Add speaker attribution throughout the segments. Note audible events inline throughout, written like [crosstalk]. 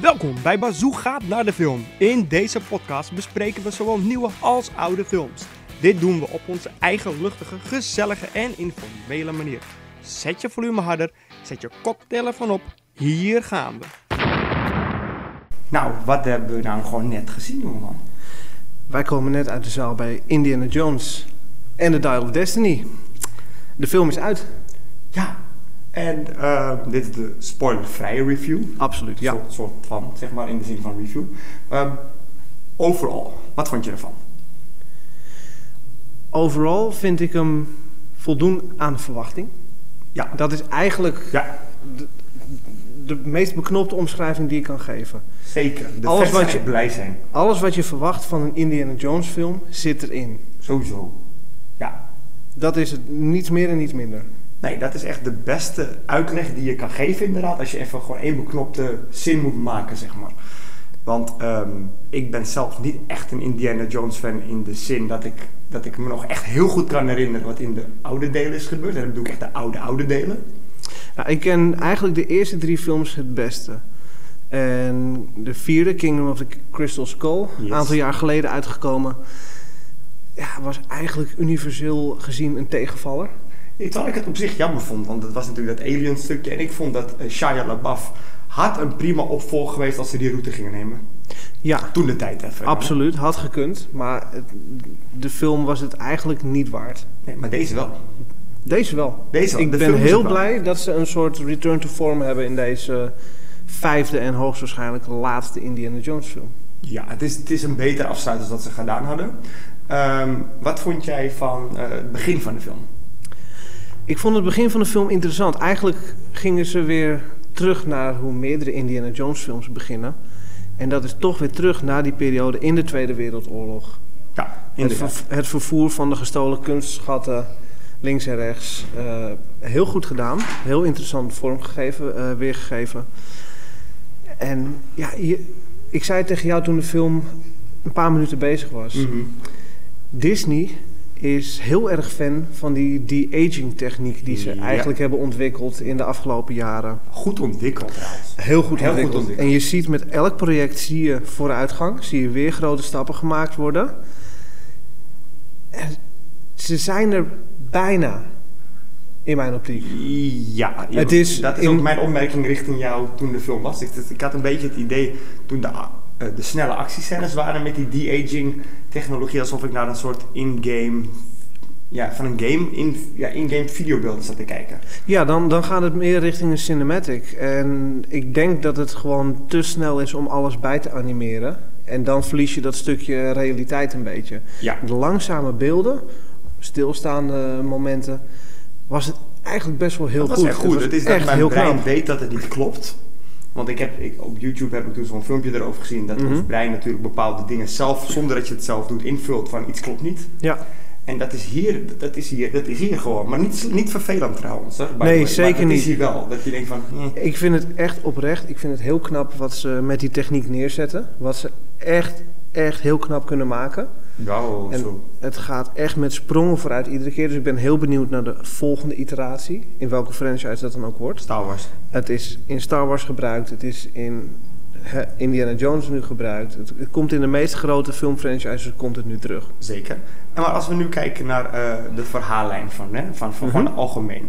Speaker 1: Welkom bij Bazoo gaat naar de film. In deze podcast bespreken we zowel nieuwe als oude films. Dit doen we op onze eigen luchtige, gezellige en informele manier. Zet je volume harder, zet je koptelefoon op. Hier gaan we. Nou, wat hebben we nou gewoon net gezien, jongeman?
Speaker 2: Wij komen net uit de zaal bij Indiana Jones en The Dial of Destiny. De film is uit.
Speaker 1: Ja, en eh, dit is de spoilervrije review.
Speaker 2: Absoluut,
Speaker 1: Ja.
Speaker 2: ja.
Speaker 1: Soort, soort van, zeg maar, in de zin van review. Ehm, overal, wat vond je ervan?
Speaker 2: Overal vind ik hem voldoen aan de verwachting.
Speaker 1: Ja.
Speaker 2: Dat is eigenlijk
Speaker 1: Ja,
Speaker 2: de meest beknopte omschrijving die ik kan geven.
Speaker 1: zeker. De
Speaker 2: Alles
Speaker 1: fans
Speaker 2: wat
Speaker 1: zijn
Speaker 2: je-
Speaker 1: blij zijn.
Speaker 2: Alles wat je verwacht van een Indiana Jones film zit erin.
Speaker 1: Sowieso. Ja.
Speaker 2: Dat is het, niets meer en niets minder.
Speaker 1: Nee, dat is echt de beste uitleg die je kan geven inderdaad. Als je even gewoon één beknopte zin moet maken, zeg maar. Want ehm, ik ben zelf niet echt een Indiana Jones fan in de zin dat ik, dat ik me nog echt heel goed kan herinneren wat in de oude delen is gebeurd. En dan bedoel ik echt de oude, oude delen.
Speaker 2: Nou, ik ken eigenlijk de eerste drie films het beste. En de vierde, Kingdom of the Crystal Skull, een
Speaker 1: Yes.
Speaker 2: aantal jaar geleden uitgekomen, ja, was eigenlijk universeel gezien een tegenvaller.
Speaker 1: Ik- Terwijl ik het op zich jammer vond, want het was natuurlijk dat alien stukje. En ik vond dat eh, Shia LaBeouf had een prima opvolger geweest als ze die route gingen nemen.
Speaker 2: Ja,
Speaker 1: Toen de tijd even.
Speaker 2: absoluut, had gekund, maar het- de film was het eigenlijk niet waard.
Speaker 1: Nee, maar deze wel.
Speaker 2: Deze wel.
Speaker 1: Deze wel.
Speaker 2: Ik
Speaker 1: De
Speaker 2: ben
Speaker 1: film is
Speaker 2: heel
Speaker 1: het wel.
Speaker 2: blij dat ze een soort return to form hebben in deze vijfde en hoogstwaarschijnlijk laatste Indiana Jones film.
Speaker 1: Ja, het is, het is een beter afsluiter dan dat ze gedaan hadden. Ehm, wat vond jij van eh, het begin van de film?
Speaker 2: Ik vond het begin van de film interessant. Eigenlijk gingen ze weer terug naar hoe meerdere Indiana Jones films beginnen. En dat is toch weer terug naar die periode in de Tweede Wereldoorlog.
Speaker 1: Ja,
Speaker 2: Het,
Speaker 1: inderdaad.
Speaker 2: verv- het vervoer van de gestolen kunstschatten links en rechts. eh, heel goed gedaan. Heel interessant vormgegeven, eh, weergegeven. En ja, je- ik zei tegen jou toen de film een paar minuten bezig was.
Speaker 1: Mhm.
Speaker 2: Disney is heel erg fan van die de-aging techniek die ze
Speaker 1: Ja.
Speaker 2: eigenlijk hebben ontwikkeld in de afgelopen jaren.
Speaker 1: Goed ontwikkeld trouwens.
Speaker 2: Heel goed
Speaker 1: Heel goed
Speaker 2: ontwikkeld.
Speaker 1: ontwikkeld.
Speaker 2: En je ziet met elk project zie je vooruitgang, zie je weer grote stappen gemaakt worden. En ze zijn er bijna, in mijn optiek.
Speaker 1: Ja,
Speaker 2: Het is
Speaker 1: dat is
Speaker 2: in-
Speaker 1: ook mijn opmerking richting jou toen de film was. Ik, ik had een beetje het idee toen de, a- eh, de snelle actiescènes waren met die de-aging technologie, alsof ik naar een soort in-game, ja, van een game, in, ja, in-game videobeelden zat te kijken.
Speaker 2: Ja, dan, dan gaat het meer richting een cinematic. En ik denk dat het gewoon te snel is om alles bij te animeren. En dan verlies je dat stukje realiteit een beetje.
Speaker 1: Ja.
Speaker 2: De langzame beelden, stilstaande momenten, was het eigenlijk best wel heel
Speaker 1: dat
Speaker 2: goed.
Speaker 1: is echt goed.
Speaker 2: was
Speaker 1: Het is dat
Speaker 2: echt
Speaker 1: mijn
Speaker 2: heel
Speaker 1: brein
Speaker 2: knap.
Speaker 1: weet dat het niet klopt. Want ik heb, ik, op YouTube heb ik toen zo'n filmpje erover gezien dat ons
Speaker 2: Mhm.
Speaker 1: brein natuurlijk bepaalde dingen zelf, zonder dat je het zelf doet, invult van iets klopt niet.
Speaker 2: Ja,
Speaker 1: En dat is hier, dat- dat is hier, dat is hier gewoon. Maar niet, niet vervelend trouwens. Hè, by the
Speaker 2: Nee,
Speaker 1: way. Maar
Speaker 2: zeker
Speaker 1: Het
Speaker 2: niet.
Speaker 1: is hier wel. Dat je denkt van, hm,
Speaker 2: ik vind het echt oprecht. Ik vind het heel knap wat ze met die techniek neerzetten. Wat ze echt, echt heel knap kunnen maken.
Speaker 1: wauw,
Speaker 2: En-
Speaker 1: oh, zo.
Speaker 2: Het gaat echt met sprongen vooruit iedere keer. Dus ik ben heel benieuwd naar de volgende iteratie. In welke franchise dat dan ook wordt.
Speaker 1: Star Wars.
Speaker 2: Het is in Star Wars gebruikt, het is in hè, Indiana Jones nu gebruikt. Het, het komt in de meest grote filmfranchises komt het nu terug.
Speaker 1: Zeker. En maar als we nu kijken naar eh, de verhaallijn van, hè, van, van gewoon
Speaker 2: Mhm.
Speaker 1: algemeen.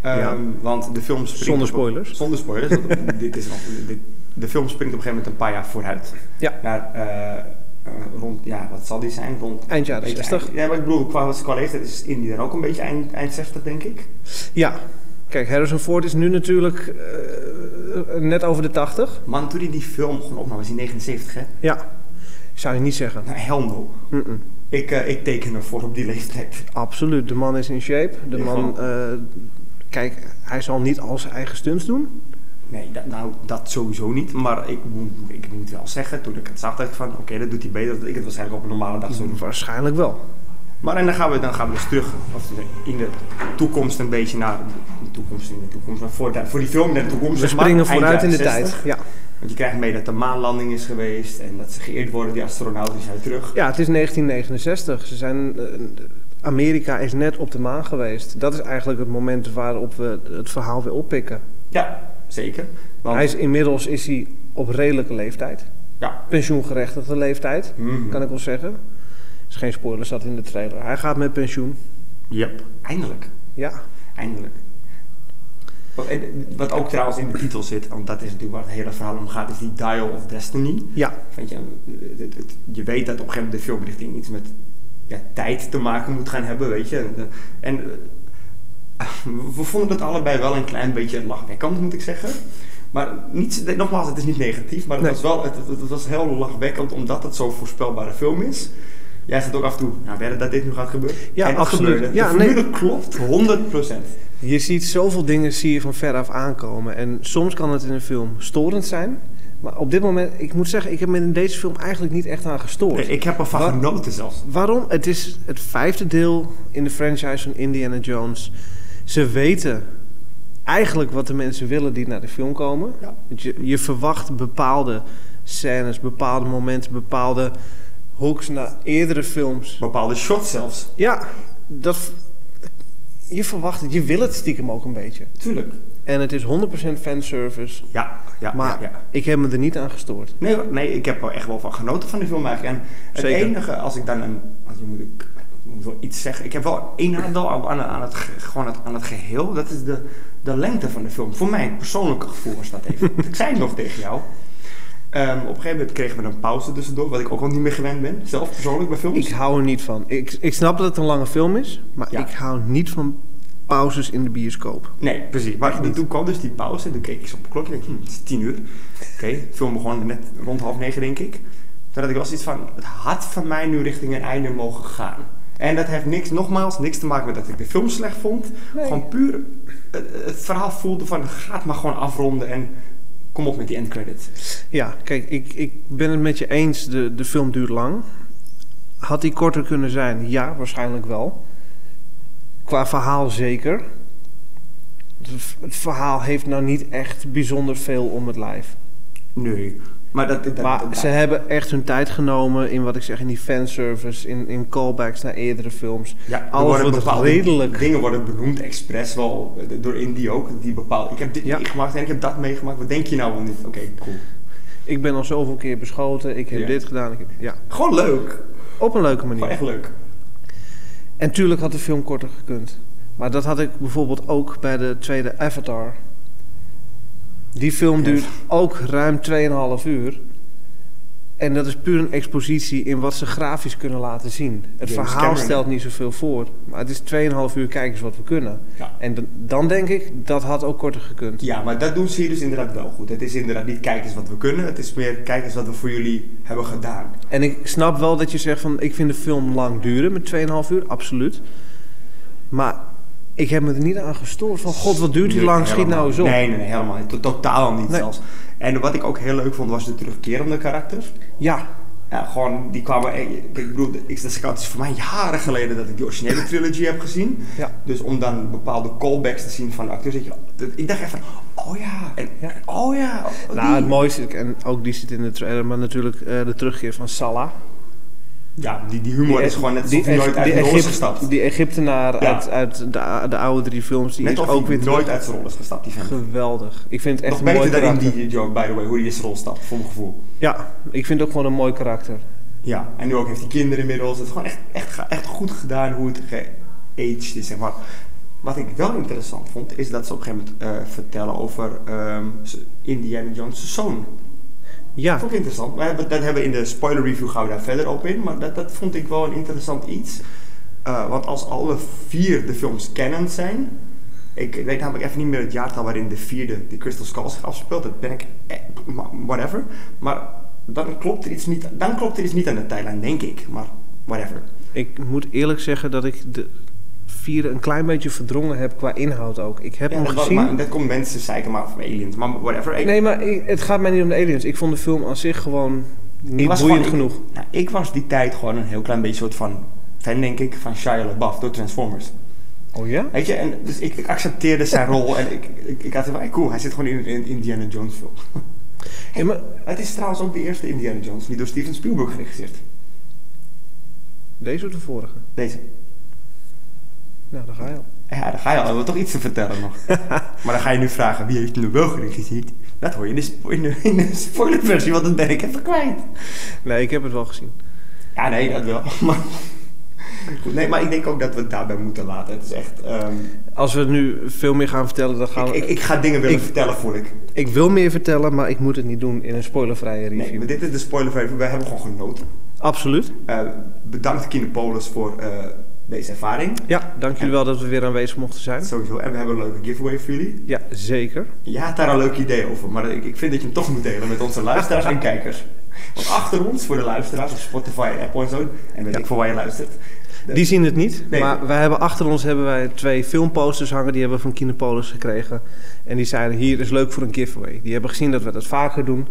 Speaker 1: Ehm,
Speaker 2: Ja.
Speaker 1: Want de film springt...
Speaker 2: Zonder
Speaker 1: op-
Speaker 2: spoilers.
Speaker 1: zonder spoilers. want [laughs] dit is nog, dit, de film springt op een gegeven moment een paar jaar vooruit.
Speaker 2: Ja.
Speaker 1: Naar, eh, eh, rond, ja, wat zal die zijn? Rond...
Speaker 2: Eind jaren
Speaker 1: beetje
Speaker 2: 60.
Speaker 1: eind- Ja, maar ik bedoel, qua, qua leeftijd is India dan ook een beetje eind, eind 60, denk ik.
Speaker 2: Ja, kijk, Harrison Ford is nu natuurlijk eh, net over de 80.
Speaker 1: Man, toen hij die film gewoon opnam, was hij 79, hè?
Speaker 2: Ja, zou je niet zeggen.
Speaker 1: Nou, hell no.
Speaker 2: Mm-mm.
Speaker 1: Ik, eh, ik teken ervoor op die leeftijd.
Speaker 2: Absoluut, de man is in shape. De
Speaker 1: Ja,
Speaker 2: man, eh, kijk, hij zal niet al zijn eigen stunts doen.
Speaker 1: Nee, dat, nou, dat sowieso niet. Maar ik, moet- ik moet wel zeggen, toen ik het zag, dacht ik van... Oké, dat doet hij beter dan ik het waarschijnlijk op een normale dag
Speaker 2: Mm-hmm.
Speaker 1: zou doen.
Speaker 2: Waarschijnlijk wel.
Speaker 1: Maar en dan gaan we, dan gaan we dus terug of in de toekomst een beetje naar... De toekomst in de toekomst, maar voor, de- voor die film naar de toekomst.
Speaker 2: We
Speaker 1: zeg maar,
Speaker 2: springen
Speaker 1: eind
Speaker 2: vooruit in de
Speaker 1: jaren 60.
Speaker 2: tijd. Ja.
Speaker 1: Want je krijgt mee dat de maanlanding is geweest en dat ze geëerd worden, die astronauten zijn terug.
Speaker 2: Ja, het is 1969. Ze zijn, eh, Amerika is net op de maan geweest. Dat is eigenlijk het moment waarop we het verhaal weer oppikken.
Speaker 1: Ja, zeker. Want
Speaker 2: Hij is, inmiddels is hij op redelijke leeftijd.
Speaker 1: Ja.
Speaker 2: Pensioengerechtigde leeftijd, kan ik wel zeggen. Is geen spoiler, zat in de trailer. Hij gaat met pensioen.
Speaker 1: Yep. Eindelijk.
Speaker 2: Ja,
Speaker 1: Eindelijk. Wat, eh, wat ook trouwens in de titel zit, want dat is natuurlijk waar het hele verhaal om gaat, is die Dial of Destiny.
Speaker 2: ja.
Speaker 1: Weet je, het- het- het- je weet dat op een gegeven moment de film richting iets met ja, tijd te maken moet gaan hebben, weet je. En, eh, we vonden het allebei wel een klein beetje lachwekkend, moet ik zeggen. Maar niet, nogmaals, het is niet negatief, maar het,
Speaker 2: Nee.
Speaker 1: was wel, het, het- het was heel lachwekkend omdat het zo'n voorspelbare film is. Jij zegt ook af en toe, nou, werden dat dit nu gaat gebeuren?
Speaker 2: Ja,
Speaker 1: en het
Speaker 2: absoluut.
Speaker 1: gebeurde.
Speaker 2: Ja,
Speaker 1: de
Speaker 2: nee.
Speaker 1: formule klopt, 100%.
Speaker 2: Je ziet zoveel dingen zie je van veraf aankomen. En soms kan het in een film storend zijn. Maar op dit moment, ik moet zeggen, ik heb me in deze film eigenlijk niet echt aan gestoord.
Speaker 1: Nee, ik heb ervan
Speaker 2: Wat?
Speaker 1: genoten zelfs.
Speaker 2: Waarom? Het is het vijfde deel in de franchise van Indiana Jones. Ze weten eigenlijk wat de mensen willen die naar de film komen.
Speaker 1: Ja.
Speaker 2: Want Je, je verwacht bepaalde scènes, bepaalde momenten, bepaalde hooks naar eerdere films.
Speaker 1: Bepaalde shots zelfs.
Speaker 2: Ja, dat, je verwacht het. Je wil het stiekem ook een beetje.
Speaker 1: Tuurlijk.
Speaker 2: En het is 100% fanservice.
Speaker 1: Ja, ja,
Speaker 2: Maar
Speaker 1: ja, ja.
Speaker 2: ik heb me er niet aan gestoord.
Speaker 1: Nee, hoor. nee, ik heb er echt wel van genoten van die film eigenlijk. En het
Speaker 2: Zeker.
Speaker 1: enige, als ik dan een. Als je moet, ik moet wel iets zeggen. Ik heb wel een nadeel aan, aan, aan het, ge- gewoon het, aan het geheel. Dat is de, de lengte van de film. Voor mij, persoonlijke gevoel was dat even. Want ik zei het nog tegen jou. Ehm, op een gegeven moment kregen we een pauze tussendoor, wat ik ook al niet meer gewend ben. Zelf persoonlijk bij films.
Speaker 2: Ik hou er niet van. Ik, ik snap dat het een lange film is, maar
Speaker 1: Ja.
Speaker 2: ik hou niet van pauzes in de bioscoop.
Speaker 1: Nee, precies. Maar
Speaker 2: niet.
Speaker 1: toen kwam dus die pauze. Toen keek ik zo op de klok. Ik dacht, hm, het is tien uur. Oké, de film begon net rond half negen, denk ik. Toen had ik wel zoiets van... Het had van mij nu richting een einde mogen gaan. En dat heeft niks, nogmaals, niks te maken met dat ik de film slecht vond.
Speaker 2: Nee.
Speaker 1: Gewoon puur eh, het verhaal voelde van... Ga het maar gewoon afronden en kom op met die endcredits.
Speaker 2: Ja, kijk, ik, ik ben het met je eens. De, de film duurt lang. Had die korter kunnen zijn? Ja, waarschijnlijk wel. Qua verhaal zeker. Het v- Het verhaal heeft nou niet echt bijzonder veel om het lijf.
Speaker 1: Nee. Maar dat... dat-
Speaker 2: Maar
Speaker 1: dat-
Speaker 2: ze hebben echt hun tijd genomen in wat ik zeg, in die fanservice, in, in callbacks naar eerdere films.
Speaker 1: Ja, er
Speaker 2: Alles
Speaker 1: worden
Speaker 2: wordt
Speaker 1: bepaalde
Speaker 2: redelijk.
Speaker 1: Dingen worden benoemd expres wel eh, door Indie ook. Die bepaalt, ik heb dit
Speaker 2: Ja.
Speaker 1: meegemaakt en ik heb dat meegemaakt. Wat denk je nou wel niet? Oké, cool.
Speaker 2: Ik ben al zoveel keer beschoten, ik heb
Speaker 1: Ja.
Speaker 2: dit gedaan. Ik heb, ja,
Speaker 1: Gewoon leuk.
Speaker 2: op een leuke
Speaker 1: Gewoon
Speaker 2: manier.
Speaker 1: echt leuk.
Speaker 2: En tuurlijk had de film korter gekund. Maar dat had ik bijvoorbeeld ook bij de tweede Avatar. Die film
Speaker 1: Ja.
Speaker 2: duurt ook ruim 2,5 uur. En dat is puur een expositie in wat ze grafisch kunnen laten zien. Het
Speaker 1: James
Speaker 2: verhaal
Speaker 1: Cameron.
Speaker 2: stelt niet zoveel voor. Maar het is 2,5 uur kijkers wat we kunnen.
Speaker 1: Ja.
Speaker 2: En dan- dan denk ik, dat had ook korter gekund.
Speaker 1: ja, maar dat doen ze hier dus inderdaad wel goed. Het is inderdaad niet kijkers wat we kunnen. Het is meer kijkers wat we voor jullie hebben gedaan.
Speaker 2: En ik snap wel dat je zegt van ik vind de film lang duren met 2,5 uur, absoluut. Maar ik heb me er niet aan gestoord van god, wat duurt die
Speaker 1: Nee,
Speaker 2: lang, schiet
Speaker 1: helemaal
Speaker 2: nou eens
Speaker 1: niet.
Speaker 2: op.
Speaker 1: Nee, nee, nee, helemaal niet. To- Totaal niet
Speaker 2: Nee.
Speaker 1: zelfs. En wat ik ook heel leuk vond was de terugkerende karakters.
Speaker 2: Ja,
Speaker 1: Ja, gewoon, die kwamen... eh, Ik bedoel, de X-Men Scout is voor mij jaren geleden dat ik de originele trilogy heb gezien.
Speaker 2: ja.
Speaker 1: Dus om dan bepaalde callbacks te zien van de acteurs. dat je- dat- Ik dacht echt van, oh ja, en,
Speaker 2: Ja.
Speaker 1: en oh ja. oh,
Speaker 2: Nou,
Speaker 1: die.
Speaker 2: het mooiste, en ook die zit in de trailer, maar natuurlijk eh, de terugkeer van Salah.
Speaker 1: Ja, die, die humor is gewoon net alsof hij
Speaker 2: Egy-
Speaker 1: nooit uit
Speaker 2: die
Speaker 1: de rol is
Speaker 2: Egypt-
Speaker 1: gestapt.
Speaker 2: Die Egyptenaar
Speaker 1: Ja.
Speaker 2: uit, uit de, de oude drie films, die
Speaker 1: Net
Speaker 2: is
Speaker 1: alsof
Speaker 2: ook
Speaker 1: hij
Speaker 2: weer terug.
Speaker 1: nooit uit zijn rol is gestapt, die vent.
Speaker 2: Geweldig. Ik vind het echt
Speaker 1: Nog
Speaker 2: een mooi
Speaker 1: beter dan in
Speaker 2: karakter.
Speaker 1: die joke, by the way, hoe hij in zijn rol stapt, voor mijn gevoel.
Speaker 2: Ja, ik vind het ook gewoon een mooi karakter.
Speaker 1: Ja, en nu ook heeft hij kinderen inmiddels. Het is gewoon echt, echt, ge- echt goed gedaan hoe het geaged is, zeg maar. Wat ik wel interessant vond, is dat ze op een gegeven moment eh, vertellen over ehm, z- Indiana Jones' zoon.
Speaker 2: Ja,
Speaker 1: Dat vond ik interessant. We hebben, dat hebben we in de spoiler review gaan we daar verder op in. Maar dat, dat vond ik wel een interessant iets. Eh, want als alle vier de films kennend zijn. Ik weet namelijk even niet meer het jaartal waarin de vierde, de Crystal Skull, zich afspeelt. Dat ben ik. eh, ma- whatever. Maar dan klopt er iets niet, dan klopt er iets niet aan de tijdlijn, denk ik. Maar whatever.
Speaker 2: Ik moet eerlijk zeggen dat ik de vierde een klein beetje verdrongen heb qua inhoud ook. Ik heb
Speaker 1: Ja,
Speaker 2: hem
Speaker 1: dat,
Speaker 2: gezien.
Speaker 1: maar, dat komt mensen zeiken maar van aliens. Maar whatever. Ik,
Speaker 2: Nee, maar ik- het gaat mij niet om de aliens. Ik vond de film aan zich gewoon niet
Speaker 1: was
Speaker 2: boeiend
Speaker 1: gewoon-
Speaker 2: genoeg.
Speaker 1: nou, ik was die tijd gewoon een heel klein beetje soort van fan, denk ik, van Shia LaBeouf door Transformers.
Speaker 2: Oh ja?
Speaker 1: Weet je, en dus ik, ik accepteerde zijn rol en ik, ik, ik had hem van, cool, hij zit gewoon in een Indiana Jones film.
Speaker 2: Ja, maar,
Speaker 1: [laughs] Het is trouwens ook de eerste Indiana Jones, die door Steven Spielberg geregisseerd.
Speaker 2: deze of de vorige?
Speaker 1: Deze.
Speaker 2: Nou, daar ga je al.
Speaker 1: Ja, dan ga je al wel toch iets te vertellen nog.
Speaker 2: [laughs]
Speaker 1: [laughs] maar dan ga je nu vragen, wie heeft hem wel geregisseerd? Dat hoor je in de, spo- in de, in de spoilerversie, want dat ben ik even kwijt.
Speaker 2: Nee, ik heb het wel gezien.
Speaker 1: Ja, nee, dat wel. [laughs] Maar, goed, nee, maar ik denk ook dat we het daarbij moeten laten. Het is echt... ehm,
Speaker 2: Als we nu veel meer gaan vertellen, dan gaan
Speaker 1: ik,
Speaker 2: we...
Speaker 1: ik, ik ga dingen willen
Speaker 2: ik-
Speaker 1: vertellen, voel ik.
Speaker 2: Ik wil meer vertellen, maar ik moet het niet doen in een spoilervrije review.
Speaker 1: Nee, maar dit is de spoilerversie. We hebben gewoon genoten.
Speaker 2: Absoluut.
Speaker 1: Eh, bedankt Kinepolis voor eh, deze ervaring.
Speaker 2: Ja, dank jullie wel dat we weer aanwezig mochten zijn.
Speaker 1: Sowieso. En we hebben een leuke giveaway voor jullie.
Speaker 2: Ja, zeker.
Speaker 1: Je had daar een leuk idee over, maar ik, ik vind dat je hem toch moet delen met onze luisteraars en kijkers. Want achter ons, voor de luisteraars op Spotify, Apple en zo, en weet ik voor waar je luistert.
Speaker 2: Die zien het niet,
Speaker 1: Nee.
Speaker 2: maar wij hebben achter ons hebben wij twee filmposters hangen. Die hebben we van Kinepolis gekregen. En die zeiden, hier is leuk voor een giveaway. Die hebben gezien dat we dat vaker doen.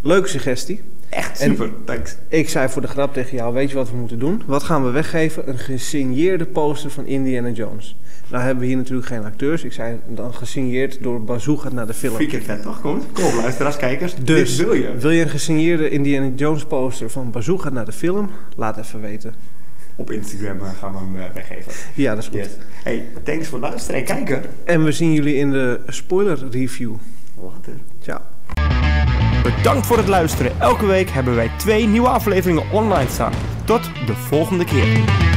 Speaker 2: Leuke suggestie.
Speaker 1: Echt
Speaker 2: En-
Speaker 1: super, thanks.
Speaker 2: Ik zei voor de grap tegen jou, weet je wat we moeten doen? Wat gaan we weggeven? Een gesigneerde poster van Indiana Jones. Nou hebben we hier natuurlijk geen acteurs. Ik zei, dan gesigneerd door Bazooka naar de film.
Speaker 1: Freaking vet toch? Kom, op, kom op luisteraars, kijkers.
Speaker 2: Dus,
Speaker 1: Dit wil je.
Speaker 2: wil je een gesigneerde Indiana Jones poster van Bazooka naar de film? Laat even weten.
Speaker 1: Op Instagram eh, gaan we hem eh, weggeven.
Speaker 2: Ja, dat is goed.
Speaker 1: Yes. Hey, thanks voor het luisteren en kijken.
Speaker 2: En we zien jullie in de spoiler review.
Speaker 1: Later.
Speaker 2: Ciao.
Speaker 1: Bedankt voor het luisteren. Elke week hebben wij twee nieuwe afleveringen online staan. Tot de volgende keer.